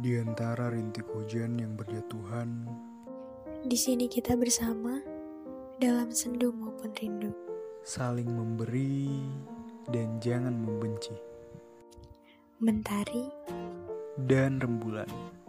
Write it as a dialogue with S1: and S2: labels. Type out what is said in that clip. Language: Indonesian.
S1: Di antara rintik hujan yang berjatuhan,
S2: Di sini kita bersama dalam sendu maupun rindu.
S1: saling memberi dan jangan membenci.
S2: Mentari
S1: Dan rembulan.